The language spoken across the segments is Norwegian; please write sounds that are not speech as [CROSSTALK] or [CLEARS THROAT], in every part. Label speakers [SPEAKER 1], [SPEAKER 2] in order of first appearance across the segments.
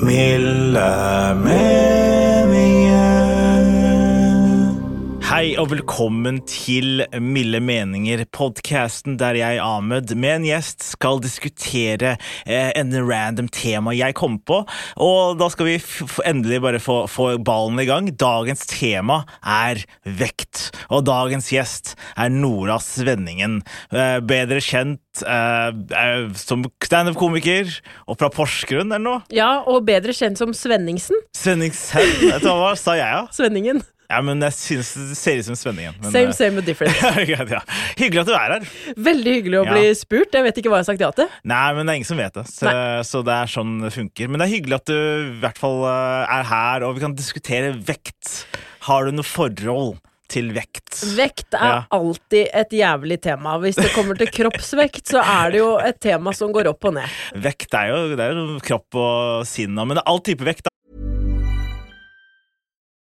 [SPEAKER 1] Milde meninger.
[SPEAKER 2] Hei og velkommen til Milde meninger, podkasten der jeg, Ahmed, med en gjest skal diskutere eh, en random tema jeg kom på. Og da skal vi f f- endelig bare få, få ballen i gang. Dagens tema er vekt. Og dagens gjest er Nora Svenningen, eh, bedre kjent eh, eh, som standup-komiker og fra Porsgrunn eller noe.
[SPEAKER 3] Ja, og bedre kjent som Svenningsen.
[SPEAKER 2] Svenningsen, vet du hva sa jeg, ja?
[SPEAKER 3] Svenningen.
[SPEAKER 2] Ja, men jeg syns det ser ut som Svenningen. Men, eh, [LAUGHS]
[SPEAKER 3] Same, same, but different.
[SPEAKER 2] Greit, ja. Hyggelig at du er her.
[SPEAKER 3] Veldig hyggelig å
[SPEAKER 2] Ja.
[SPEAKER 3] bli spurt. Jeg vet ikke hva jeg har sagt ja til.
[SPEAKER 2] Nei, men det er ingen som vet det. Så, så det er sånn det funker. Men det er hyggelig at du i hvert fall eh, er her, og vi kan diskutere vekt. Har du noe forhold til vekt?
[SPEAKER 3] Vekt er
[SPEAKER 2] Ja.
[SPEAKER 3] alltid et jævlig tema. Hvis det kommer til kroppsvekt, så er det jo et tema som går opp og ned.
[SPEAKER 2] Vekt er jo, det er jo kropp og sinn, og- men det er all type vekt. da.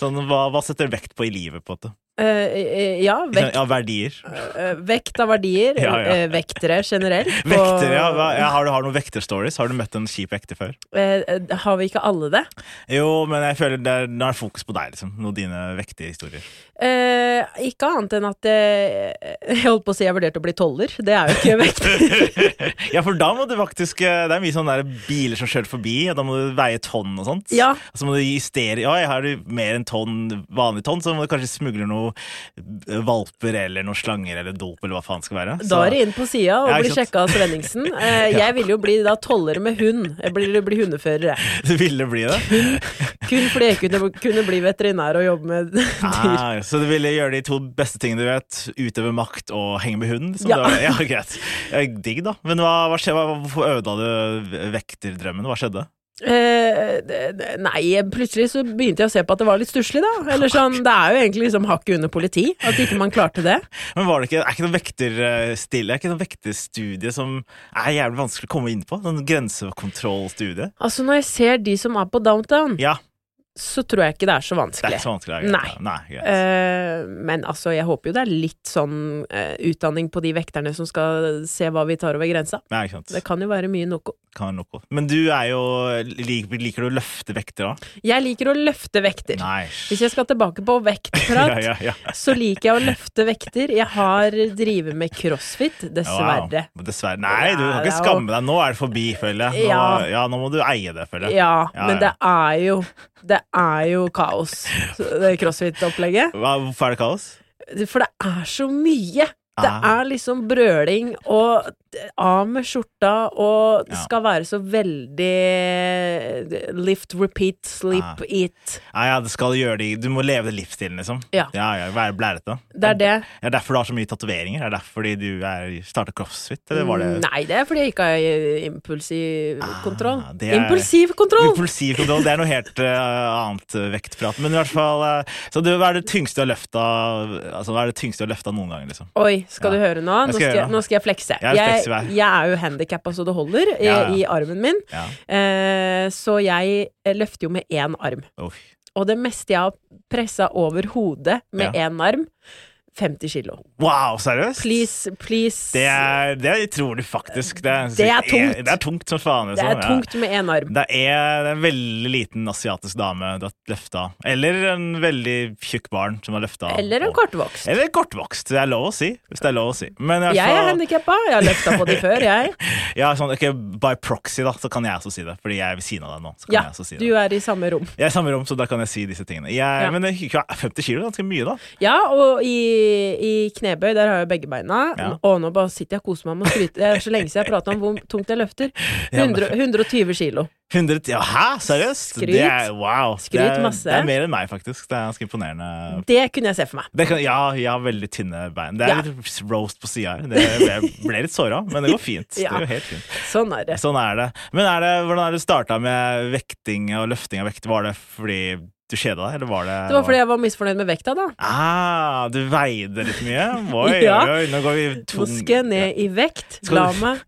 [SPEAKER 2] Sånn, hva, hva setter vekt på i livet? på en måte?
[SPEAKER 3] Eh, eh, ja, vekt,
[SPEAKER 2] Ja, verdier.
[SPEAKER 3] eh, vekt av verdier.
[SPEAKER 2] Ja, ja.
[SPEAKER 3] eh, vektere generelt.
[SPEAKER 2] [LAUGHS]
[SPEAKER 3] på-
[SPEAKER 2] Vektere, ja, hva, ja, Har du har du noen vekterstories? Har du møtt en kjip vekter før?
[SPEAKER 3] Eh, eh, har vi ikke alle det?
[SPEAKER 2] Jo, men jeg føler det er, nå er det fokus på deg, liksom. Noen av dine vekterhistorier.
[SPEAKER 3] Eh, ikke annet enn at eh, Jeg holdt på å si jeg vurderte å bli toller. Det er jo ikke
[SPEAKER 2] [LAUGHS]
[SPEAKER 3] vekt.
[SPEAKER 2] [LAUGHS] ja, for da må du faktisk eh, Det er mye sånne der biler som kjører forbi, og da må du veie tonn og sånt.
[SPEAKER 3] Ja.
[SPEAKER 2] Og Så må du justere Ja, jeg har du mer enn tonn, vanlig tonn, så må du kanskje smugle noe eh, valper eller noen slanger eller dop eller hva faen det skal være.
[SPEAKER 3] Da er det inn på sida og
[SPEAKER 2] Ja, ikke
[SPEAKER 3] blir
[SPEAKER 2] sant?
[SPEAKER 3] sjekka
[SPEAKER 2] [LAUGHS]
[SPEAKER 3] av Svenningsen. Eh, Jeg ville jo bli da toller med hund. Jeg blir, blir hundefører, jeg.
[SPEAKER 2] [LAUGHS] det ville bli det.
[SPEAKER 3] Kun fordi jeg kunne, kunne bli veterinær og jobbe med [LAUGHS] dyr.
[SPEAKER 2] Ah, så du ville gjøre de to beste tingene du vet. Utøve makt og henge med hunden. Liksom.
[SPEAKER 3] Ja.
[SPEAKER 2] Det var- ja, [LAUGHS] greit. Eh, Digg, da. Men hva, hva skjedde? Hva- Hvorfor ødela du vekterdrømmen? Hva skjedde?
[SPEAKER 3] Eh, det- det- nei, plutselig så begynte jeg å se på at det var litt stusslig, da. Eller sånn, det er jo egentlig liksom hakket under politi, at ikke man klarte det.
[SPEAKER 2] Men var det ikke, er ikke noe vekterstille, er ikke noe vekterstudie som er jævlig vanskelig å komme inn på? Sånn grensekontrollstudie?
[SPEAKER 3] Altså, når jeg ser de som er på downtown,
[SPEAKER 2] Ja,
[SPEAKER 3] så tror jeg ikke det er så
[SPEAKER 2] det er ikke
[SPEAKER 3] vanskelig.
[SPEAKER 2] så vanskelig. det er greit. Nei, greit.
[SPEAKER 3] Eh, men altså, jeg håper jo det er litt sånn eh, utdanning på de vekterne som skal se hva vi tar over grensa.
[SPEAKER 2] Nei, ikke sant.
[SPEAKER 3] Det kan jo være mye noe.
[SPEAKER 2] Kan være noe. Men du er jo lik- Liker du å løfte vekter, da?
[SPEAKER 3] Jeg liker å løfte vekter.
[SPEAKER 2] Nei.
[SPEAKER 3] Hvis jeg skal tilbake på vektprat,
[SPEAKER 2] [LAUGHS] Ja, ja, ja.
[SPEAKER 3] så liker jeg å løfte vekter. Jeg har drevet med crossfit, dessverre.
[SPEAKER 2] Wow. Dessverre. Nei, du kan ikke
[SPEAKER 3] Det er jo-
[SPEAKER 2] skamme deg. Nå er det forbi, føler jeg. Nå, ja.
[SPEAKER 3] Ja.
[SPEAKER 2] nå må du eie det, føler jeg.
[SPEAKER 3] Ja,
[SPEAKER 2] Ja,
[SPEAKER 3] men
[SPEAKER 2] ja.
[SPEAKER 3] det er jo Det er jo kaos, det crossfit-opplegget.
[SPEAKER 2] Hva, hvorfor er det kaos?
[SPEAKER 3] For det er så mye! Det
[SPEAKER 2] Ah.
[SPEAKER 3] er liksom brøling og av med skjorta og det
[SPEAKER 2] Ja.
[SPEAKER 3] skal være så veldig Lift, repeat,
[SPEAKER 2] Ah.
[SPEAKER 3] sleep, eat.
[SPEAKER 2] Nei, ja, det skal gjøre det. Du må leve den livsstilen, liksom.
[SPEAKER 3] Ja.
[SPEAKER 2] Ja, ja, Være blærete.
[SPEAKER 3] Det er det.
[SPEAKER 2] Er det derfor du har så mye tatoveringer? Er det derfor fordi du er, startet crossfit? Eller var det Ah,
[SPEAKER 3] Nei, det er fordi jeg ikke har eh, impulsiv kontroll.
[SPEAKER 2] det er-
[SPEAKER 3] Impulsiv kontroll!
[SPEAKER 2] Impulsiv kontroll, det er noe helt eh, annet eh, vektprat. Men i hvert fall eh, Så du, hva er det tyngste du har løfta Altså, hva er det tyngste du har løfta noen gang, liksom?
[SPEAKER 3] Oi, skal
[SPEAKER 2] Ja.
[SPEAKER 3] du høre
[SPEAKER 2] Jeg
[SPEAKER 3] nå?
[SPEAKER 2] skal
[SPEAKER 3] Nå skal,
[SPEAKER 2] gjøre
[SPEAKER 3] jeg,
[SPEAKER 2] det.
[SPEAKER 3] nå skal jeg flekse.
[SPEAKER 2] Jeg er fleksibel.
[SPEAKER 3] jeg, jeg er jo handikappa så det holder i,
[SPEAKER 2] Ja, ja.
[SPEAKER 3] i armen min,
[SPEAKER 2] Ja.
[SPEAKER 3] eh, så jeg eh, løfter jo med én arm.
[SPEAKER 2] Uff.
[SPEAKER 3] Og det meste jeg har pressa over hodet med
[SPEAKER 2] Ja.
[SPEAKER 3] én arm, 50 kilo.
[SPEAKER 2] Wow, seriøst?
[SPEAKER 3] Please, please.
[SPEAKER 2] Det, er, det tror du faktisk. Det er,
[SPEAKER 3] Det er tungt.
[SPEAKER 2] Det er tungt som faen.
[SPEAKER 3] Det
[SPEAKER 2] Liksom.
[SPEAKER 3] er tungt med én arm.
[SPEAKER 2] Ja. Det er en veldig liten asiatisk dame du har løfta. Eller en veldig tjukk barn som har løfta.
[SPEAKER 3] Eller en kortvokst.
[SPEAKER 2] Eller en kortvokst. Det er lov å si. Hvis det er lov å si. Men i hvert
[SPEAKER 3] Jeg er
[SPEAKER 2] fall-
[SPEAKER 3] handikappa, jeg har løfta på de
[SPEAKER 2] [LAUGHS]
[SPEAKER 3] før, jeg.
[SPEAKER 2] Ja, sånn, ok, By proxy, da, så kan jeg også si det. Fordi jeg er ved siden av deg nå. Så kan
[SPEAKER 3] Ja,
[SPEAKER 2] jeg også si det.
[SPEAKER 3] du er i samme rom.
[SPEAKER 2] Jeg er i samme rom, så da kan jeg si disse tingene. Jeg,
[SPEAKER 3] Ja.
[SPEAKER 2] Men det- 50 kilo er ganske mye, da.
[SPEAKER 3] Ja, og i, i knebøy, der har jeg begge beina.
[SPEAKER 2] Ja.
[SPEAKER 3] Og nå bare sitter jeg og koser meg med å skryte. Det er så lenge siden jeg prata om hvor tungt jeg løfter.
[SPEAKER 2] Ja, men-
[SPEAKER 3] 100, 120 kilo.
[SPEAKER 2] 100, ja, hæ, seriøst?
[SPEAKER 3] Skryt.
[SPEAKER 2] Det er, wow. det
[SPEAKER 3] Skryt
[SPEAKER 2] er,
[SPEAKER 3] masse.
[SPEAKER 2] Det er mer enn meg, faktisk. Det er ganske imponerende.
[SPEAKER 3] Det kunne jeg se for meg.
[SPEAKER 2] Det kan, ja, jeg har veldig tynne bein. Det er
[SPEAKER 3] Ja.
[SPEAKER 2] litt roast på sida her. Det ble, ble litt såra, men det går fint.
[SPEAKER 3] Ja.
[SPEAKER 2] Det går helt fint.
[SPEAKER 3] Sånn er det.
[SPEAKER 2] Sånn er det. Men er det, hvordan er det du starta med vekting og løfting av vekt? Var det fordi du kjeda deg, eller var det
[SPEAKER 3] Det var fordi jeg var misfornøyd med vekta, da.
[SPEAKER 2] Ah, du veide litt mye?
[SPEAKER 3] [LAUGHS]
[SPEAKER 2] Oi,
[SPEAKER 3] Ja.
[SPEAKER 2] oi, oi, nå går vi
[SPEAKER 3] Nå
[SPEAKER 2] tung
[SPEAKER 3] skal jeg ned i vekt.
[SPEAKER 2] Skal
[SPEAKER 3] La
[SPEAKER 2] du-
[SPEAKER 3] meg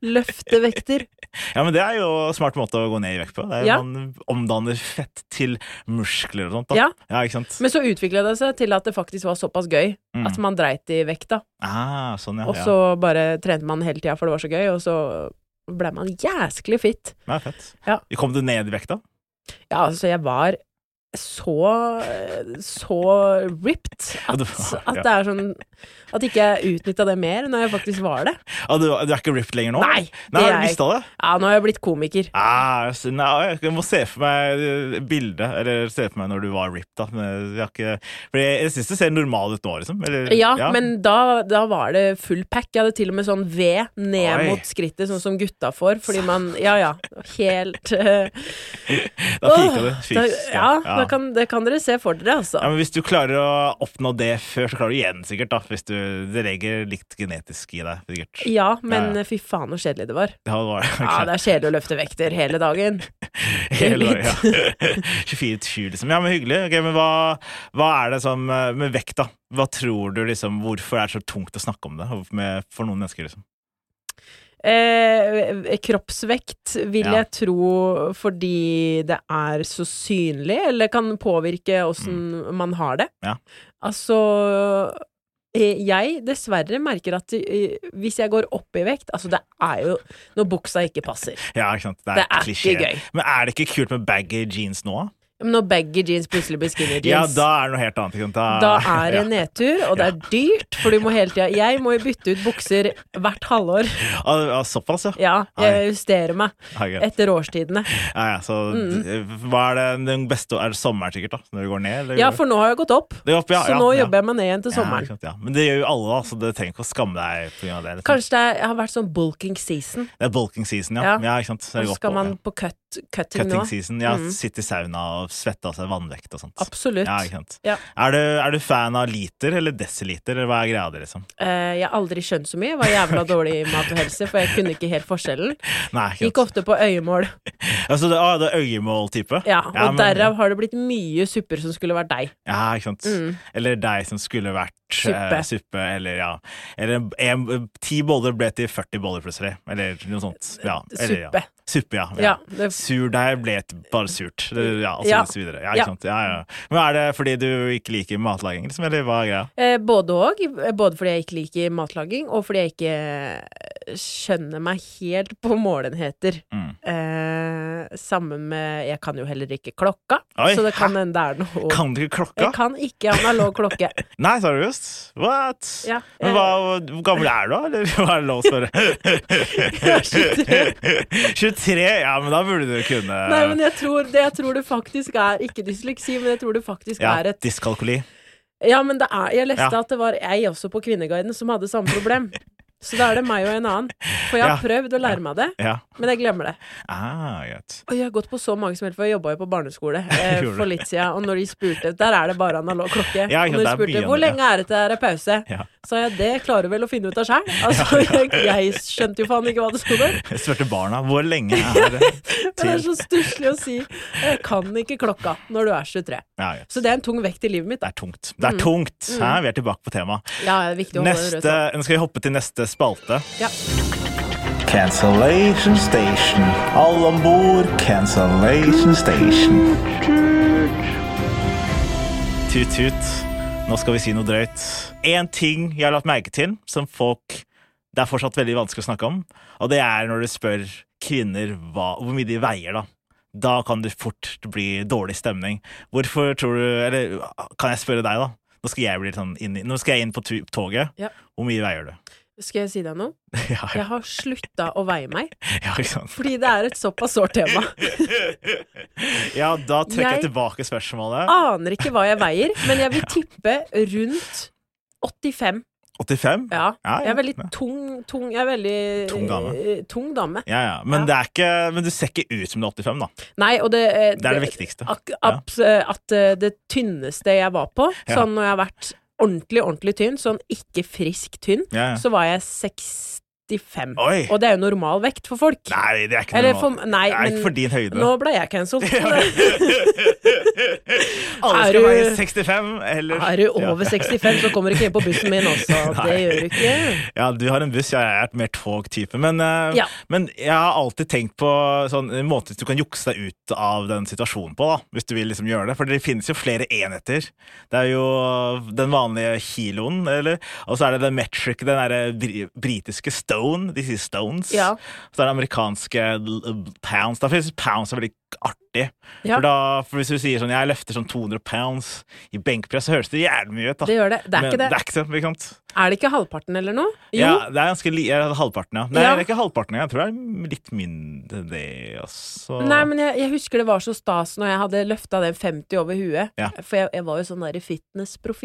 [SPEAKER 2] [LAUGHS]
[SPEAKER 3] løfte vekter.
[SPEAKER 2] Ja, men Det er jo en smart måte å gå ned i vekt på. Det er,
[SPEAKER 3] Ja.
[SPEAKER 2] Man omdanner fett til muskler og sånt. da.
[SPEAKER 3] Ja.
[SPEAKER 2] ikke sant?
[SPEAKER 3] Men så utvikla det seg til at det faktisk var såpass gøy
[SPEAKER 2] Mm.
[SPEAKER 3] at man dreit i vekta.
[SPEAKER 2] Ah, sånn, ja.
[SPEAKER 3] Og så bare trente man hele tida for det var så gøy, og så blei man jæsklig fit.
[SPEAKER 2] ja. ja fett.
[SPEAKER 3] Ja.
[SPEAKER 2] Kom du ned i vekta?
[SPEAKER 3] Ja, altså, jeg var så så ripped
[SPEAKER 2] Ja,
[SPEAKER 3] at,
[SPEAKER 2] du-
[SPEAKER 3] at
[SPEAKER 2] ja.
[SPEAKER 3] det er sånn At ikke jeg utnytta det mer når jeg faktisk var det.
[SPEAKER 2] Ah, du, du er ikke ripped lenger nå?
[SPEAKER 3] Nei,
[SPEAKER 2] Nei,
[SPEAKER 3] det
[SPEAKER 2] har
[SPEAKER 3] er
[SPEAKER 2] du
[SPEAKER 3] jeg
[SPEAKER 2] mista det?
[SPEAKER 3] Ja, nå har jeg blitt komiker.
[SPEAKER 2] Ah, så- nei, jeg må se for meg eh, bildet, eller se for meg når du var ripped. da. Men jeg, har ikke, for jeg, jeg syns det ser normal ut nå, liksom. Eller,
[SPEAKER 3] Ja, men da, da var det full pack. Jeg hadde til og med sånn ved ned
[SPEAKER 2] Oi.
[SPEAKER 3] mot skrittet, sånn som gutta får. Fordi man Ja, ja. Helt eh,
[SPEAKER 2] Da fika du.
[SPEAKER 3] åh,
[SPEAKER 2] Fis,
[SPEAKER 3] da, ja,
[SPEAKER 2] ja.
[SPEAKER 3] da kan, det kan dere se for dere, altså.
[SPEAKER 2] Ja, men Hvis du klarer å oppnå det før, så klarer du igjen, sikkert. da Hvis du, Det ligger litt genetisk i deg. sikkert
[SPEAKER 3] Ja, men
[SPEAKER 2] Ja, ja.
[SPEAKER 3] fy faen så kjedelig det var.
[SPEAKER 2] Det var,
[SPEAKER 3] Ja, det er kjedelig å løfte vekter hele dagen.
[SPEAKER 2] [LAUGHS] Hele
[SPEAKER 3] litt.
[SPEAKER 2] dagen,
[SPEAKER 3] [LAUGHS]
[SPEAKER 2] ja. [LAUGHS] 24-7, liksom. Ja, men hyggelig. Ok, men hva, hva er det som eh, Med vekt, da. Hva tror du liksom Hvorfor er det så tungt å snakke om det med, for noen mennesker? liksom?
[SPEAKER 3] Eh, kroppsvekt vil
[SPEAKER 2] Ja.
[SPEAKER 3] jeg tro fordi det er så synlig, eller kan påvirke åssen man har det.
[SPEAKER 2] Mm. Ja.
[SPEAKER 3] Altså eh, jeg dessverre merker at eh, hvis jeg går opp i vekt Altså, det er jo når buksa ikke passer.
[SPEAKER 2] Ja, ikke sant?
[SPEAKER 3] Det er
[SPEAKER 2] klisjé.
[SPEAKER 3] ikke gøy.
[SPEAKER 2] Men er det ikke kult med baggy jeans nå? da?
[SPEAKER 3] Men Når baggy jeans plutselig blir skinny jeans.
[SPEAKER 2] Ja, da er det noe helt annet. Ikke sant?
[SPEAKER 3] Da er det
[SPEAKER 2] ja.
[SPEAKER 3] nedtur, og det er dyrt, for du må hele tida Jeg må jo bytte ut bukser hvert halvår.
[SPEAKER 2] Ah, ah, Såpass, ja.
[SPEAKER 3] Ja, jeg justerer meg
[SPEAKER 2] Ah, greit.
[SPEAKER 3] etter årstidene.
[SPEAKER 2] ja, ja så
[SPEAKER 3] Mm.
[SPEAKER 2] d- hva er det den beste Er det sommeren, sikkert, da? Når du går ned? Eller?
[SPEAKER 3] Ja, for nå har jeg gått opp,
[SPEAKER 2] Det går opp, ja,
[SPEAKER 3] så
[SPEAKER 2] ja,
[SPEAKER 3] nå
[SPEAKER 2] ja.
[SPEAKER 3] jobber jeg meg ned igjen til
[SPEAKER 2] Ja, ikke
[SPEAKER 3] sommeren.
[SPEAKER 2] sant, ja. Men det gjør jo alle, da, så du trenger ikke å skamme deg. På grunn av det, liksom.
[SPEAKER 3] Kanskje det er- har vært sånn bulking season,
[SPEAKER 2] det er bulking season, ja.
[SPEAKER 3] Ja.
[SPEAKER 2] ja. ikke sant? Så det
[SPEAKER 3] og
[SPEAKER 2] går
[SPEAKER 3] så
[SPEAKER 2] opp
[SPEAKER 3] skal
[SPEAKER 2] og- ja.
[SPEAKER 3] man på cut, cutting
[SPEAKER 2] Cutting
[SPEAKER 3] nå.
[SPEAKER 2] season. Ja,
[SPEAKER 3] Mm.
[SPEAKER 2] sitte i sauna og svette av seg vannvekt og sånt. Ja,
[SPEAKER 3] Absolutt.
[SPEAKER 2] ikke sant.
[SPEAKER 3] Ja.
[SPEAKER 2] Er, du, er du fan av liter eller desiliter, eller hva er greia di, liksom?
[SPEAKER 3] Eh, Jeg har aldri skjønt så mye. Jeg var jævla dårlig i mat og helse, for jeg kunne ikke helt forskjellen.
[SPEAKER 2] Nei,
[SPEAKER 3] Gikk
[SPEAKER 2] ikke sant.
[SPEAKER 3] ofte på øyemål.
[SPEAKER 2] Altså, det, ah, det er øyemål-type?
[SPEAKER 3] Ja, og
[SPEAKER 2] men-
[SPEAKER 3] derav har det blitt mye supper som skulle vært deg.
[SPEAKER 2] Ja, ikke sant. Eller deg som skulle vært
[SPEAKER 3] Mm. Suppe.
[SPEAKER 2] suppe, suppe eller ja Eller en- ti boller ble til 40 boller plutselig, eller noe sånt. Ja, eller, Ja.
[SPEAKER 3] Suppe.
[SPEAKER 2] Suppe, ja.
[SPEAKER 3] Ja,
[SPEAKER 2] ja.
[SPEAKER 3] det-
[SPEAKER 2] Surdeig ble et- bare surt. Det- Ja, og så,
[SPEAKER 3] Ja.
[SPEAKER 2] så videre. Ja, ikke
[SPEAKER 3] Ja.
[SPEAKER 2] sant. Ja, ja. Men er det fordi du ikke liker matlaging, liksom, eller hva er greia?
[SPEAKER 3] Eh, Både og. Både fordi jeg ikke liker matlaging, og fordi jeg ikke skjønner meg helt på målenheter.
[SPEAKER 2] Mm.
[SPEAKER 3] Eh, sammen med Jeg kan jo heller ikke klokka,
[SPEAKER 2] Oi,
[SPEAKER 3] så det kan hende det er noe
[SPEAKER 2] Kan du ikke klokka?
[SPEAKER 3] Jeg kan ikke
[SPEAKER 2] [LAUGHS]
[SPEAKER 3] analog klokke.
[SPEAKER 2] Nei, seriøst? What?
[SPEAKER 3] Ja,
[SPEAKER 2] Men
[SPEAKER 3] jeg-
[SPEAKER 2] hva, hvor gammel er du, da? Eller [LAUGHS] hva er det lov å
[SPEAKER 3] [LAUGHS]
[SPEAKER 2] spørre?
[SPEAKER 3] er 23.
[SPEAKER 2] 23? [LAUGHS] Ja, men da burde du kunne
[SPEAKER 3] Nei, men jeg tror, det, jeg tror det faktisk er Ikke dysleksi, men jeg tror det faktisk
[SPEAKER 2] ja,
[SPEAKER 3] er et
[SPEAKER 2] Dyskalkuli.
[SPEAKER 3] Ja, men det er Jeg leste
[SPEAKER 2] Ja.
[SPEAKER 3] at det var ei også på Kvinneguiden som hadde samme problem. Så da er det meg og en annen. For jeg
[SPEAKER 2] Ja.
[SPEAKER 3] har prøvd å lære meg det,
[SPEAKER 2] Ja.
[SPEAKER 3] men jeg glemmer det.
[SPEAKER 2] Ah, greit.
[SPEAKER 3] Og jeg har gått på så mange som helst, for jeg jobba jo på
[SPEAKER 2] [LAUGHS]
[SPEAKER 3] barneskole eh,
[SPEAKER 2] Gjorde
[SPEAKER 3] for
[SPEAKER 2] du?
[SPEAKER 3] litt siden, og når de spurte Der er det bare analog klokke.
[SPEAKER 2] Ja,
[SPEAKER 3] og
[SPEAKER 2] ikke sant,
[SPEAKER 3] når de
[SPEAKER 2] det er
[SPEAKER 3] spurte
[SPEAKER 2] mye
[SPEAKER 3] hvor
[SPEAKER 2] andre, ja.
[SPEAKER 3] lenge er det til det er pause,
[SPEAKER 2] [LAUGHS] Ja.
[SPEAKER 3] sa jeg det klarer du vel å finne ut av
[SPEAKER 2] [LAUGHS]
[SPEAKER 3] sjæl. Altså, jeg, jeg skjønte jo faen ikke hva det sto der.
[SPEAKER 2] Jeg spurte barna hvor lenge er det
[SPEAKER 3] [LAUGHS] Men det er
[SPEAKER 2] til
[SPEAKER 3] så stusslig å si 'jeg kan ikke klokka' når du er 23.
[SPEAKER 2] ja, ja.
[SPEAKER 3] Så det er en tung vekt i livet mitt.
[SPEAKER 2] Det
[SPEAKER 3] Da.
[SPEAKER 2] er tungt. Det
[SPEAKER 3] Mm.
[SPEAKER 2] er tungt. Hæ? Vi er tilbake på temaet.
[SPEAKER 3] Ja, det er viktig å holde den røde
[SPEAKER 2] Neste,
[SPEAKER 3] tråden.
[SPEAKER 2] nå skal vi hoppe til neste spalte.
[SPEAKER 3] Ja.
[SPEAKER 1] Cancellation Station. Alle om bord, Cancellation Station.
[SPEAKER 2] Tut-tut. Nå Nå skal vi si noe drøyt. Én ting jeg har lagt merke til, som folk Det er fortsatt veldig vanskelig å snakke om, og det er når du spør kvinner hva, hvor mye de veier, da. Da kan det fort bli dårlig stemning. Hvorfor tror du Eller kan jeg spørre deg, da? Nå skal jeg, bli sånn inn, i- nå skal jeg inn på tu- toget.
[SPEAKER 3] Ja.
[SPEAKER 2] Hvor mye veier du?
[SPEAKER 3] Skal jeg si deg noe?
[SPEAKER 2] [LAUGHS] ja, ja,
[SPEAKER 3] Jeg har slutta å veie meg,
[SPEAKER 2] ja, ikke sant?
[SPEAKER 3] fordi det er et såpass sårt tema.
[SPEAKER 2] Ja, da trekker jeg,
[SPEAKER 3] Jeg- Ah.
[SPEAKER 2] tilbake spørsmålet.
[SPEAKER 3] Aner ikke hva jeg veier, men jeg vil tippe rundt 85.
[SPEAKER 2] 85?
[SPEAKER 3] Ja.
[SPEAKER 2] Ja,
[SPEAKER 3] Jeg er veldig
[SPEAKER 2] ja.
[SPEAKER 3] tung, tung Jeg er veldig
[SPEAKER 2] Tung dame.
[SPEAKER 3] eh, tung dame.
[SPEAKER 2] Ja, ja. Men,
[SPEAKER 3] Ja.
[SPEAKER 2] Det er ikke, men du ser ikke ut som du er 85, da.
[SPEAKER 3] Nei, og det eh,
[SPEAKER 2] Det er det viktigste.
[SPEAKER 3] Ak abs- eh, at eh, det tynneste jeg var på,
[SPEAKER 2] Ja.
[SPEAKER 3] sånn når jeg har vært ordentlig, ordentlig tynn, sånn ikke frisk tynn,
[SPEAKER 2] Ja, ja.
[SPEAKER 3] så var jeg 65.
[SPEAKER 2] Oi.
[SPEAKER 3] Og det er jo normal vekt for folk.
[SPEAKER 2] Nei, det er ikke
[SPEAKER 3] Eller
[SPEAKER 2] normalt.
[SPEAKER 3] for- nei,
[SPEAKER 2] det er
[SPEAKER 3] men-
[SPEAKER 2] ikke for din høyde.
[SPEAKER 3] Nå
[SPEAKER 2] [LAUGHS]
[SPEAKER 3] ble jeg cancelled.
[SPEAKER 2] Alle
[SPEAKER 3] Er
[SPEAKER 2] skal
[SPEAKER 3] du-
[SPEAKER 2] være 65, eller
[SPEAKER 3] Er du over 65, så kommer du ikke inn på bussen min også.
[SPEAKER 2] [LAUGHS]
[SPEAKER 3] Det
[SPEAKER 2] Nei.
[SPEAKER 3] gjør du ikke.
[SPEAKER 2] Ja, du har en buss, jeg er et mer tog-type. Men, eh,
[SPEAKER 3] Ja.
[SPEAKER 2] men jeg har alltid tenkt på sånn, en måte du kan jukse deg ut av den situasjonen på, da, hvis du vil liksom gjøre det. For det finnes jo flere enheter. Det er jo den vanlige kiloen, eller, og så er det den metric, den derre bri- britiske stone, de sier stones.
[SPEAKER 3] Ja.
[SPEAKER 2] Så er det amerikanske l- l- pounds. Da finnes pounds er veldig artig.
[SPEAKER 3] Ja.
[SPEAKER 2] For, da, for hvis du sier sånn, jeg løfter sånn 200 pounds i benkpress, så høres det jævlig mye ut, da.
[SPEAKER 3] Det gjør det. Det er
[SPEAKER 2] Men
[SPEAKER 3] ikke det.
[SPEAKER 2] det er ikke det, ikke sant?
[SPEAKER 3] Er det ikke halvparten eller noe? Jo.
[SPEAKER 2] Ja, det er ganske li ja, halvparten, ja. Nei,
[SPEAKER 3] Ja.
[SPEAKER 2] det er ikke halvparten, jeg tror det er litt mindre det, altså.
[SPEAKER 3] Nei, men jeg, jeg husker det var så stas når jeg hadde løfta den 50 over huet.
[SPEAKER 2] Ja.
[SPEAKER 3] For jeg, jeg var jo sånn derre fitnessprofil.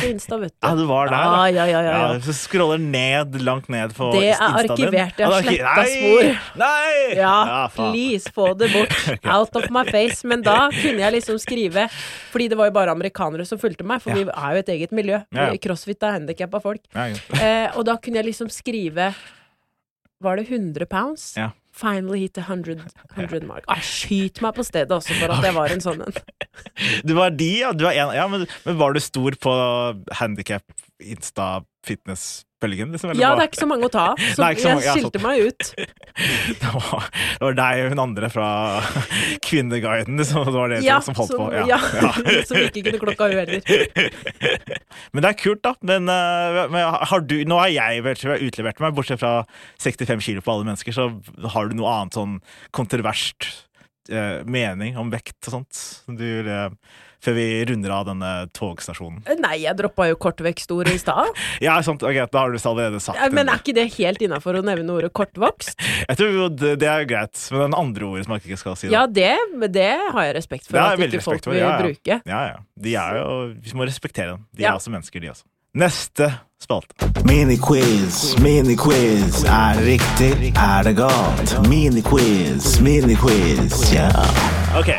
[SPEAKER 3] på Insta, vet du.
[SPEAKER 2] [LAUGHS] Ja, du var der, da.
[SPEAKER 3] Ah, ja, ja, ja, ja.
[SPEAKER 2] så scroller ned, langt ned på
[SPEAKER 3] Det er
[SPEAKER 2] Instaen din.
[SPEAKER 3] arkivert, jeg
[SPEAKER 2] Ja,
[SPEAKER 3] har
[SPEAKER 2] det er
[SPEAKER 3] sletta
[SPEAKER 2] arki- Nei!
[SPEAKER 3] spor.
[SPEAKER 2] [LAUGHS] Nei!
[SPEAKER 3] Ja,
[SPEAKER 2] faen.
[SPEAKER 3] please, få det
[SPEAKER 2] [LAUGHS]
[SPEAKER 3] bort. Out of my face. Men da kunne jeg liksom skrive Fordi det var jo bare amerikanere som fulgte meg, for vi er jo et eget miljø.
[SPEAKER 2] Ja, ja.
[SPEAKER 3] Crossfit er handikappa folk.
[SPEAKER 2] Ja, ikke sant.
[SPEAKER 3] Eh, og da kunne jeg liksom skrive Var det 100 pounds?
[SPEAKER 2] Ja.
[SPEAKER 3] Finally hit the 100, 100 mark. Ah, skyt meg på stedet også for at jeg var en sånn en.
[SPEAKER 2] Du var de, ja. Du var en, ja men, men var du stor på handikap, insta, fitness-bølgen? Liksom, eller
[SPEAKER 3] Ja,
[SPEAKER 2] hva?
[SPEAKER 3] det er ikke så mange å ta av, så
[SPEAKER 2] Nei, ikke så mange,
[SPEAKER 3] jeg
[SPEAKER 2] ja,
[SPEAKER 3] skilte
[SPEAKER 2] sant.
[SPEAKER 3] meg ut.
[SPEAKER 2] [LAUGHS] det var, det var deg og hun andre fra [LAUGHS] Kvinneguiden liksom, det var det
[SPEAKER 3] Ja,
[SPEAKER 2] som holdt på. [LAUGHS]
[SPEAKER 3] ja, [LAUGHS] som ikke kunne klokka hun heller.
[SPEAKER 2] Men det er kult, da. Men, eh, men har du, nå har jeg vel tror jeg, utlevert meg, bortsett fra 65 kilo på alle mennesker, så har du noe annet sånn kontroverst eh, mening om vekt og sånt som du vil, eh, før vi runder av denne togstasjonen?
[SPEAKER 3] Nei, jeg droppa jo kortvekstord i
[SPEAKER 2] [LAUGHS]
[SPEAKER 3] stad.
[SPEAKER 2] Ja, sant, ok, da har du visst allerede sagt
[SPEAKER 3] Ja, Men eh,
[SPEAKER 2] det.
[SPEAKER 3] er ikke det helt innafor å nevne ordet kortvokst?
[SPEAKER 2] Jeg tror jo det, det er greit, men den andre ordet som jeg ikke skal si.
[SPEAKER 3] Ja, det, det har jeg respekt for
[SPEAKER 2] Det har
[SPEAKER 3] at
[SPEAKER 2] jeg
[SPEAKER 3] ikke
[SPEAKER 2] veldig
[SPEAKER 3] folk
[SPEAKER 2] respekt for,
[SPEAKER 3] vil
[SPEAKER 2] ja, ja.
[SPEAKER 3] bruke.
[SPEAKER 2] Ja, ja. De er jo, vi må respektere dem. De
[SPEAKER 3] Ja.
[SPEAKER 2] er også mennesker, de også. Neste spalte.
[SPEAKER 1] Miniquiz, miniquiz. Er det riktig? Er det galt? Miniquiz, miniquiz. Ja.
[SPEAKER 2] Ok,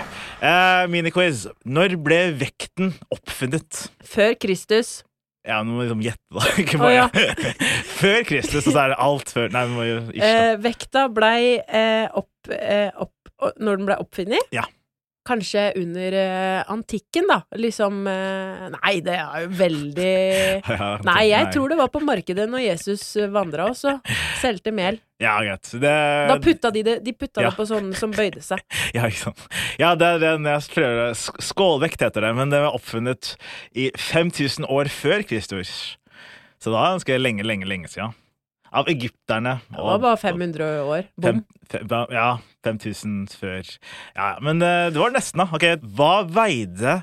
[SPEAKER 2] eh, miniquiz. Når ble vekten oppfunnet?
[SPEAKER 3] Før Kristus
[SPEAKER 2] Ja, nå må vi liksom gjette, da. [LAUGHS] Ikke
[SPEAKER 3] Å,
[SPEAKER 2] bare. [LAUGHS]
[SPEAKER 3] ja.
[SPEAKER 2] før Kristus, og så er det alt før Nei, vi må jo ikke da.
[SPEAKER 3] eh, Vekta blei eh, opp, eh, opp å- Når den blei oppfunnet?
[SPEAKER 2] Ja.
[SPEAKER 3] Kanskje under eh, antikken, da. Liksom eh, Nei, det er jo veldig
[SPEAKER 2] [LAUGHS] Ja,
[SPEAKER 3] Nei, jeg tror det var på markedet når Jesus vandra også. Solgte mel.
[SPEAKER 2] Ja, greit. Det,
[SPEAKER 3] Da putta de det De putta
[SPEAKER 2] Eh, Ja.
[SPEAKER 3] det på sånne som bøyde seg.
[SPEAKER 2] [LAUGHS] ja, ikke sant. ja, det er den jeg prøver sk- Skålvekt heter det, men det var oppfunnet i 5000 år før Kristus. Så da er det ganske lenge, lenge, lenge siden. Av egypterne.
[SPEAKER 3] Det var bare 500 år. Bom.
[SPEAKER 2] Fem, fem, ja, 5000 før. Ja, ja, men eh, det var nesten, da. Ok, Hva veide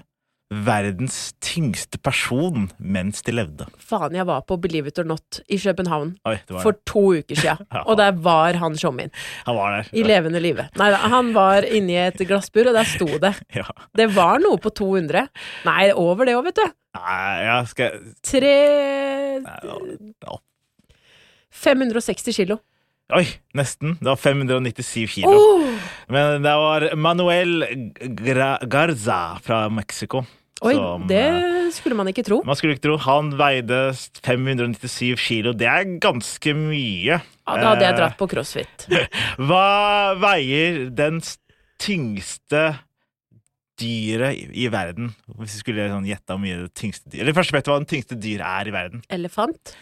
[SPEAKER 2] verdens tyngste person mens de levde?
[SPEAKER 3] Faen, jeg var på Believe it or not i København
[SPEAKER 2] Oi, det var
[SPEAKER 3] for to uker siden,
[SPEAKER 2] [LAUGHS] Ja.
[SPEAKER 3] og der var han showmin.
[SPEAKER 2] Han var der.
[SPEAKER 3] I levende live. Nei da, han var inni et glassbur, og der sto det.
[SPEAKER 2] [LAUGHS] Ja.
[SPEAKER 3] Det var noe på 200. Nei, over det òg, vet du.
[SPEAKER 2] Nei, ja, skal jeg
[SPEAKER 3] Tre
[SPEAKER 2] Nei, det var-
[SPEAKER 3] 560 kilo.
[SPEAKER 2] Oi, nesten. Det var 597 kilo.
[SPEAKER 3] Oh,
[SPEAKER 2] Men det var Manuel Gra Garza fra Mexico.
[SPEAKER 3] oi,
[SPEAKER 2] som, eh,
[SPEAKER 3] det skulle man ikke tro.
[SPEAKER 2] Man skulle ikke tro. Han veide 597 kilo. Det er ganske mye.
[SPEAKER 3] Ja, da
[SPEAKER 2] eh.
[SPEAKER 3] hadde jeg dratt på crossfit.
[SPEAKER 2] Hva veier den s- tyngste dyret i i verden? Hvis vi skulle sånn gjette hvor mye det tyngste dyr Eller først vet du hva den tyngste dyret er i verden?
[SPEAKER 3] Elefant.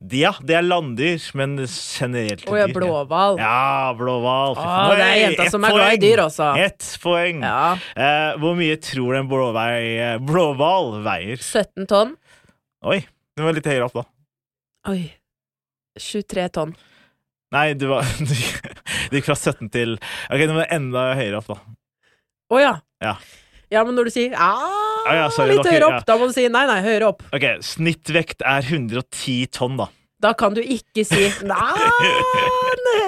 [SPEAKER 2] Det- Ja, det er landdyr, men generelt
[SPEAKER 3] Og
[SPEAKER 2] dyr.
[SPEAKER 3] jeg blåhval.
[SPEAKER 2] Ja, blåhval. Fy
[SPEAKER 3] Å,
[SPEAKER 2] faen.
[SPEAKER 3] det er
[SPEAKER 2] Oi,
[SPEAKER 3] jenta
[SPEAKER 2] ett
[SPEAKER 3] som er glad i
[SPEAKER 2] poeng.
[SPEAKER 3] dyr også.
[SPEAKER 2] Ett poeng.
[SPEAKER 3] Ja.
[SPEAKER 2] Eh, hvor mye tror du en blåvei, blåhval veier?
[SPEAKER 3] 17 tonn.
[SPEAKER 2] Oi, du var litt høyere opp, da.
[SPEAKER 3] Oi. 23 tonn.
[SPEAKER 2] Nei, du var [LAUGHS] Du gikk fra 17 til Ok, du må enda høyere opp, da.
[SPEAKER 3] Å ja.
[SPEAKER 2] Ja.
[SPEAKER 3] Ja, men når du sier ah,
[SPEAKER 2] Ja, ja, sorry,
[SPEAKER 3] litt
[SPEAKER 2] dere-
[SPEAKER 3] høyere opp,
[SPEAKER 2] ja.
[SPEAKER 3] da må du si nei, nei, høyere opp.
[SPEAKER 2] Ok, Snittvekt er 110 tonn, da.
[SPEAKER 3] Da kan du ikke si [LAUGHS] nei,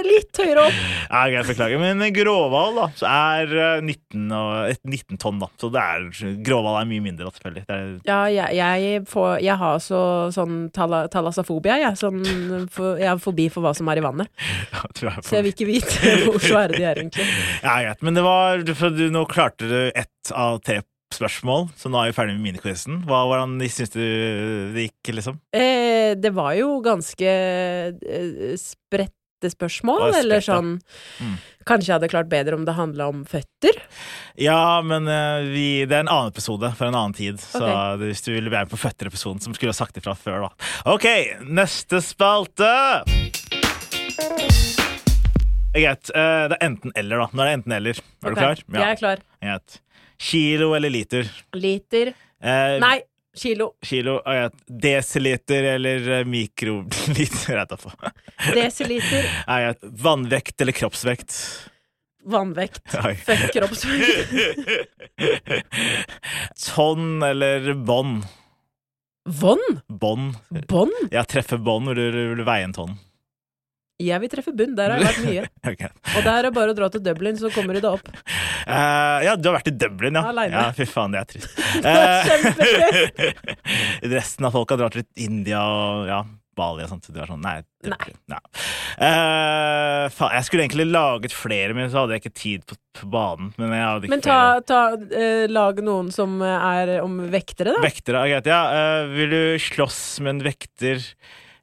[SPEAKER 3] litt høyere opp.
[SPEAKER 2] Ja, greit, beklager. Men gråhval da, så er eh, 19, og, et 19 tonn, da. Så det er, gråhval er mye mindre, da, selvfølgelig. Det er, [LAUGHS]
[SPEAKER 3] Ja, jeg, jeg, får, jeg har så, sånn tala, talassafobia, jeg. Sånn, for, jeg er forbi for hva som er i vannet.
[SPEAKER 2] jeg tror jeg er
[SPEAKER 3] Så jeg vil ikke vite [LAUGHS] hvor svære de er, egentlig.
[SPEAKER 2] [LAUGHS] Ja, greit. Men det var, for du, nå klarte du ett av tre spørsmål, så nå er vi ferdig med miniquizen. Hva- Hvordan syns du det gikk, liksom?
[SPEAKER 3] Eh, det var jo ganske eh, spredte spørsmål,
[SPEAKER 2] Det var Mm.
[SPEAKER 3] eller
[SPEAKER 2] spredt, ja.
[SPEAKER 3] sånn Kanskje jeg hadde klart bedre om det handla om føtter?
[SPEAKER 2] Ja, men eh, vi, det er en annen episode fra en annen tid. Så
[SPEAKER 3] Ok.
[SPEAKER 2] det- hvis du ville være med på føtterepisoden, som skulle ha sagt ifra før, da. OK, neste spalte! Greit. eh, det er enten-eller, da. Nå er det enten-eller. Er
[SPEAKER 3] Ok,
[SPEAKER 2] du klar?
[SPEAKER 3] Jeg er klar.
[SPEAKER 2] Greit. Kilo eller liter?
[SPEAKER 3] Liter
[SPEAKER 2] Eh,
[SPEAKER 3] Nei, kilo.
[SPEAKER 2] Kilo ah, ja. Desiliter eller eh, mikroliter? [LAUGHS] Jeg vet da faen.
[SPEAKER 3] Desiliter.
[SPEAKER 2] Ah, ja. Vannvekt eller kroppsvekt?
[SPEAKER 3] Vannvekt.
[SPEAKER 2] Oi.
[SPEAKER 3] Fuck kroppsvekt.
[SPEAKER 2] [LAUGHS] Tonn eller bånd?
[SPEAKER 3] Vonn?
[SPEAKER 2] Bånd.
[SPEAKER 3] Bånd?
[SPEAKER 2] Ja, treffe bånd hvor du hvor du veier en tonn. [LAUGHS]
[SPEAKER 3] Jeg vil treffe bunn. Der har jeg vært mye.
[SPEAKER 2] Ok.
[SPEAKER 3] Og der er det bare å dra til Dublin, så kommer du deg
[SPEAKER 2] [LAUGHS]
[SPEAKER 3] opp.
[SPEAKER 2] Eh, ja, du har vært i Dublin, ja.
[SPEAKER 3] Alene.
[SPEAKER 2] Ja, Fy faen, [LAUGHS] det er trist.
[SPEAKER 3] er
[SPEAKER 2] Eh, [LAUGHS] resten av folka drar til India og ja, Bali og sånt. Du er sånn, nei. Dublin, nei. Eh, faen, jeg skulle egentlig laget flere, men så hadde jeg ikke tid på, på banen. Men jeg hadde ikke
[SPEAKER 3] Men ta, ta eh, lag noen som er om vektere, da.
[SPEAKER 2] flere. Vektere, er greit. Ja, eh, vil du slåss med en vekter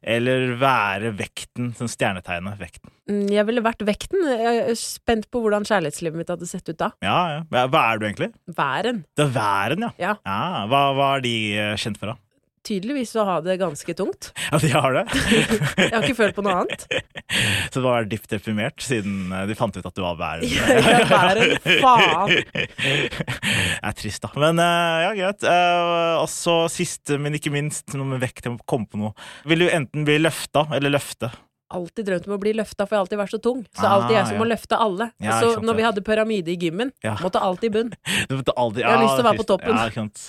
[SPEAKER 2] eller være vekten? Sånn stjernetegnet vekten.
[SPEAKER 3] Mm, Jeg ville vært vekten. Jeg er spent på hvordan kjærlighetslivet mitt hadde sett ut da.
[SPEAKER 2] Ja, ja. Hva- Hva er du egentlig?
[SPEAKER 3] Væren.
[SPEAKER 2] Det er væren, ja.
[SPEAKER 3] Ja.
[SPEAKER 2] Ah, hva, hva er de eh, kjent for, da? [LAUGHS]
[SPEAKER 3] Tydeligvis så har det ganske tungt.
[SPEAKER 2] Ja, de har det. [LAUGHS]
[SPEAKER 3] Jeg har ikke følt på noe annet.
[SPEAKER 2] Så du har vært dypt deprimert siden eh, de fant ut at du var væren? [LAUGHS]
[SPEAKER 3] Jeg er væren, faen.
[SPEAKER 2] Det er trist, da. Men eh, ja, greit. Eh, og så siste, men ikke minst, noe med vekt. Jeg må komme på noe. Vil du enten bli løfta eller løfte?
[SPEAKER 3] Alltid drømt om å bli løfta, for jeg har alltid vært så tung. Så
[SPEAKER 2] Ah,
[SPEAKER 3] alltid jeg som
[SPEAKER 2] ja.
[SPEAKER 3] må løfte alle.
[SPEAKER 2] Ja,
[SPEAKER 3] så
[SPEAKER 2] ikke sant,
[SPEAKER 3] når vi
[SPEAKER 2] ja.
[SPEAKER 3] hadde pyramide i gymmen,
[SPEAKER 2] Ja.
[SPEAKER 3] måtte alltid i bunn.
[SPEAKER 2] Du vet aldri-
[SPEAKER 3] Jeg har
[SPEAKER 2] ja,
[SPEAKER 3] lyst til å være
[SPEAKER 2] trist.
[SPEAKER 3] på toppen.
[SPEAKER 2] Ja, ikke sant.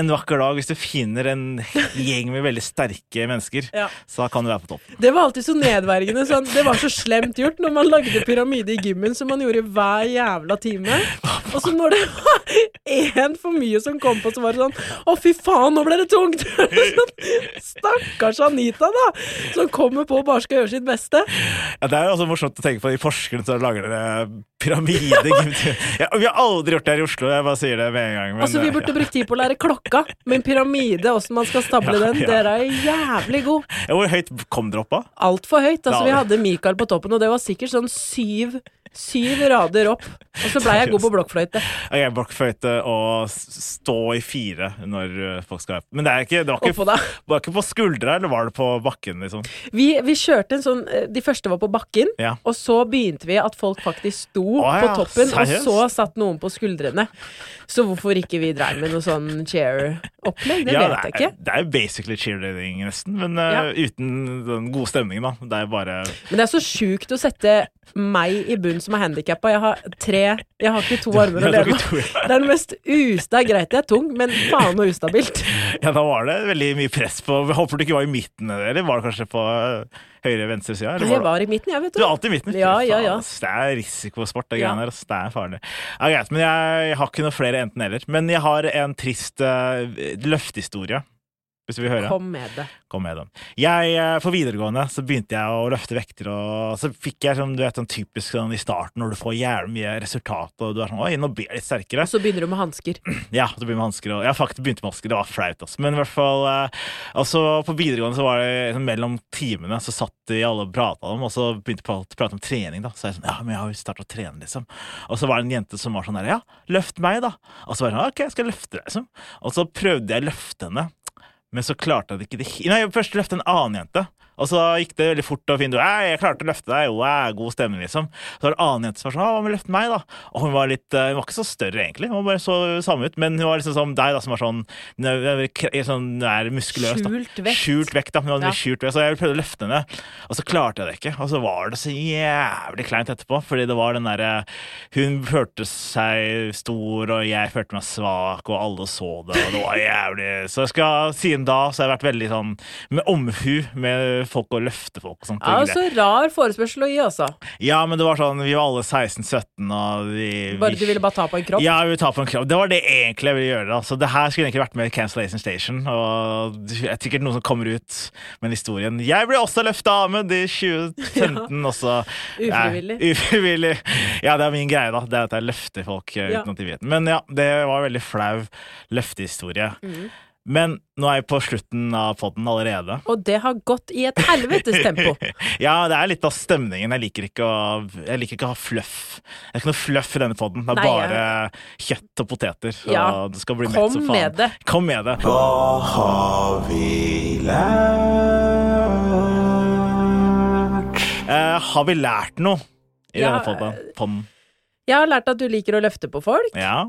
[SPEAKER 2] En vakker dag, hvis du finner en gjeng med veldig sterke mennesker,
[SPEAKER 3] Ja.
[SPEAKER 2] så kan du være på toppen.
[SPEAKER 3] Det var alltid så nedverdigende. Sånn. Det var så slemt gjort når man lagde pyramide i gymmen, som man gjorde hver jævla time. Og så når det var én for mye som kom på, så var det sånn Å, fy faen, nå ble det tungt! [LAUGHS] Sånn, Stakkars Anita, da! Som kommer på og bare skal gjøre sitt beste.
[SPEAKER 2] Ja, det er jo også morsomt å tenke på de forskerne som lager dere
[SPEAKER 3] [LAUGHS]
[SPEAKER 2] pyramide. ja, vi har aldri gjort det her i Oslo, jeg bare sier det med en gang. men,
[SPEAKER 3] Altså, Vi
[SPEAKER 2] eh,
[SPEAKER 3] burde brukt tid på å lære klokka, men pyramide, åssen man skal stable
[SPEAKER 2] Ja,
[SPEAKER 3] den,
[SPEAKER 2] ja.
[SPEAKER 3] dere er jævlig gode.
[SPEAKER 2] ja. Hvor høyt kom dere opp, da?
[SPEAKER 3] Altfor høyt. Altså,
[SPEAKER 2] Ja,
[SPEAKER 3] vi
[SPEAKER 2] det-
[SPEAKER 3] hadde Michael på toppen, og det var sikkert sånn syv Syv rader opp, og så blei jeg god på blokkfløyte.
[SPEAKER 2] Ok, blokkfløyte eh, og s- stå i fire når uh, folk skal Men det, er ikke, det var,
[SPEAKER 3] Oppå
[SPEAKER 2] ikke,
[SPEAKER 3] deg.
[SPEAKER 2] det var ikke på skuldra, eller var det på bakken, liksom?
[SPEAKER 3] Vi, vi kjørte en sånn eh, De første var på bakken,
[SPEAKER 2] Ja.
[SPEAKER 3] og så begynte vi at folk faktisk sto
[SPEAKER 2] Å
[SPEAKER 3] på
[SPEAKER 2] ja,
[SPEAKER 3] toppen,
[SPEAKER 2] seriøst?
[SPEAKER 3] og så satt noen på skuldrene. Så hvorfor ikke vi dreiv med noe sånn chair-opplegg, det
[SPEAKER 2] Ja,
[SPEAKER 3] vet jeg
[SPEAKER 2] det,
[SPEAKER 3] ikke.
[SPEAKER 2] er, det er jo basically cheerleading, nesten, men uh,
[SPEAKER 3] Ja.
[SPEAKER 2] uten den gode stemningen, da. Det er bare
[SPEAKER 3] Men det er så sjukt å sette meg i bunn som er handikappa. Jeg har tre Jeg har ikke to armer å
[SPEAKER 2] det er
[SPEAKER 3] leve
[SPEAKER 2] ikke
[SPEAKER 3] av.
[SPEAKER 2] to, ja.
[SPEAKER 3] Det er det mest us... Det er greit jeg er tung, men faen så ustabilt.
[SPEAKER 2] Ja, da var det veldig mye press på Jeg Håper du ikke var i midten, eller var det kanskje på uh, høyre-venstre sida? eller
[SPEAKER 3] Altså, Jeg
[SPEAKER 2] var det-
[SPEAKER 3] var i midten, jeg, vet
[SPEAKER 2] Du er alltid i midten.
[SPEAKER 3] Ja,
[SPEAKER 2] Fy
[SPEAKER 3] ja,
[SPEAKER 2] faen, altså.
[SPEAKER 3] ja.
[SPEAKER 2] ass. Det er risikosport, det
[SPEAKER 3] Ja.
[SPEAKER 2] greiene der. ass. Det er farlig. Ja, greit, men jeg, jeg har ikke noe flere enten-eller. Men jeg har en trist eh, løftehistorie. Hvis du vil høre. Kom,
[SPEAKER 3] Kom med det.
[SPEAKER 2] med den. Jeg, eh, for videregående så begynte jeg å løfte vekter, og så fikk jeg sånn, du vet, sånn typisk sånn, i starten når du får jævlig mye resultat, og du er sånn Oi, nå blir jeg litt sterkere.
[SPEAKER 3] Og så begynner du med hansker.
[SPEAKER 2] [CLEARS THROAT] Ja, det blir med hansker. og- Jeg har faktisk begynt med hansker, det var flaut. Altså. Men i hvert fall, eh, altså, på videregående så var det liksom, mellom timene så satt de alle og prata om, og så begynte de å prate om trening. da. Så jeg sånn, ja, men jeg har jo starta å trene, liksom. Og så var det en jente som var sånn der, ja, løft meg, da. Og så var jeg sånn, ok, jeg skal løfte deg, liksom. Og så prøvde jeg å løfte henne. Men så klarte jeg det ikke. Det- Nei, jeg først løfte en annen jente. Og så gikk det veldig fort og fint. Og, «Ei, jeg klarte å løfte deg. Wow, god stemning, liksom. Så var det en annen jente som var sånn, «Å, hva med å løfte meg, da? Og hun var litt, eh, hun var ikke så større, egentlig. Hun bare så samme ut. Men hun var liksom som deg, da, som var sånn, hun er- hun er kre- sånn hun er muskuløs. Da.
[SPEAKER 3] Skjult vekt.
[SPEAKER 2] Skjult vekt, da. Hun hadde
[SPEAKER 3] Ja.
[SPEAKER 2] mye skjult vekt. Så jeg prøvde å løfte henne, og så klarte jeg det ikke. Og så var det så jævlig kleint etterpå, fordi det var den derre Hun følte seg stor, og jeg følte meg svak, og alle så det, og det var jævlig Så jeg skal, siden da så har jeg vært veldig sånn med omhu med folk og løfte folk og sånt.
[SPEAKER 3] Ja,
[SPEAKER 2] og
[SPEAKER 3] så rar forespørsel å gi, altså.
[SPEAKER 2] ja, men det var sånn, vi var alle 16-17, og vi
[SPEAKER 3] Bare
[SPEAKER 2] vi-
[SPEAKER 3] du ville bare ta på en kropp.
[SPEAKER 2] ja, jeg vil ta på en krav. Det var det egentlig jeg ville gjøre. da. Så det her skulle egentlig vært med i Cancellation Station. Og det er sikkert noen som kommer ut med en historien. Jeg ble også løfta av med i
[SPEAKER 3] [LAUGHS]
[SPEAKER 2] 2015 også.
[SPEAKER 3] Ufrivillig.
[SPEAKER 2] Nei, ufrivillig. Ja, det er min greie, da. Det er at jeg løfter folk eh,
[SPEAKER 3] Ja.
[SPEAKER 2] uten at de vet det. Men ja, det var en veldig flau løftehistorie.
[SPEAKER 3] Mm.
[SPEAKER 2] Men nå er jeg på slutten av podden allerede.
[SPEAKER 3] Og det har gått i et helvetes tempo.
[SPEAKER 2] [LAUGHS] Ja, det er litt av stemningen. Jeg liker ikke å, jeg liker ikke å ha fluff. Det er ikke noe fluff i denne podden. Det er
[SPEAKER 3] Nei,
[SPEAKER 2] bare kjøtt og poteter. og
[SPEAKER 3] Ja.
[SPEAKER 2] det skal bli
[SPEAKER 3] Kom
[SPEAKER 2] mett som faen.
[SPEAKER 3] med det.
[SPEAKER 2] Kom med det.
[SPEAKER 1] Hva har vi lært?
[SPEAKER 2] Eh, har vi lært noe i
[SPEAKER 3] Ja, eh,
[SPEAKER 2] denne podden? podden?
[SPEAKER 3] Jeg har lært at du liker å løfte på folk.
[SPEAKER 2] Ja.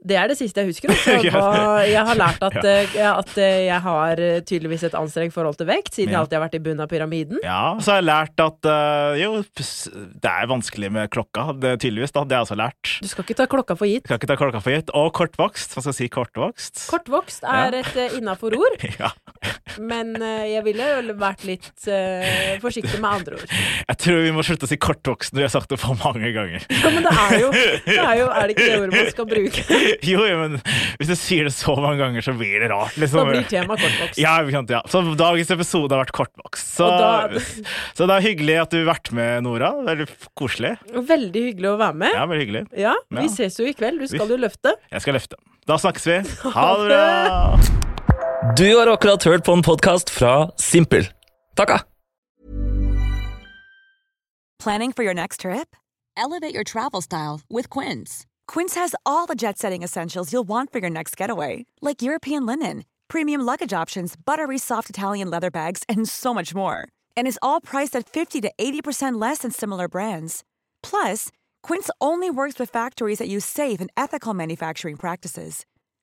[SPEAKER 3] Det er det siste jeg husker. Altså.
[SPEAKER 2] [LAUGHS] Ja.
[SPEAKER 3] Hva- Jeg har lært at,
[SPEAKER 2] Ja.
[SPEAKER 3] eh, ja, at eh, jeg har eh, tydeligvis et anstrengt forhold til vekt, siden jeg
[SPEAKER 2] Ja.
[SPEAKER 3] alltid har vært i bunnen av pyramiden.
[SPEAKER 2] ja. Så har jeg lært at eh, jo, pss, det er vanskelig med klokka. Det, tydeligvis, da. Det har jeg også lært.
[SPEAKER 3] Du skal ikke ta klokka for gitt.
[SPEAKER 2] Skal ikke ta klokka for gitt. Og kortvokst. Hva skal jeg si? Kortvokst.
[SPEAKER 3] Kortvokst er
[SPEAKER 2] Ja.
[SPEAKER 3] et eh, innafor ord,
[SPEAKER 2] [LAUGHS] ja.
[SPEAKER 3] men eh, jeg ville jo vært litt eh, forsiktig med andre ord.
[SPEAKER 2] Jeg tror vi må slutte å si kortvokst når vi har sagt det for mange ganger. [LAUGHS]
[SPEAKER 3] Ja, men det er jo, det er, jo er det ikke det ordet man skal bruke?
[SPEAKER 2] Jo, jo, men hvis du sier det så mange ganger, så blir det rart.
[SPEAKER 3] Da
[SPEAKER 2] Liksom.
[SPEAKER 3] blir temaet kortvokst.
[SPEAKER 2] ja, ikke sant, ja. Så dagens episode har vært kortvokst. Så,
[SPEAKER 3] Og da-
[SPEAKER 2] så det er hyggelig at du har vært med, Nora. Veldig f- koselig.
[SPEAKER 3] Veldig hyggelig å være med.
[SPEAKER 2] Ja, veldig hyggelig.
[SPEAKER 3] Ja,
[SPEAKER 2] Ja.
[SPEAKER 3] vi ses jo i kveld. Du skal jo løfte.
[SPEAKER 2] Jeg skal løfte. Da snakkes
[SPEAKER 3] [LAUGHS]
[SPEAKER 2] vi. Ha det bra!
[SPEAKER 4] Du har akkurat hørt på en podkast fra Simpel. Takka!
[SPEAKER 5] Planning for your next trip?
[SPEAKER 6] Elevate your travel style with Quince.
[SPEAKER 5] Quince has all the jet setting essentials you'll want for your next getaway, like European linen, premium luggage options, buttery soft Italian leather bags, and so much more. And is all priced at 50 to 80% less than similar brands. Plus, Quince only works with factories that use safe and ethical manufacturing practices.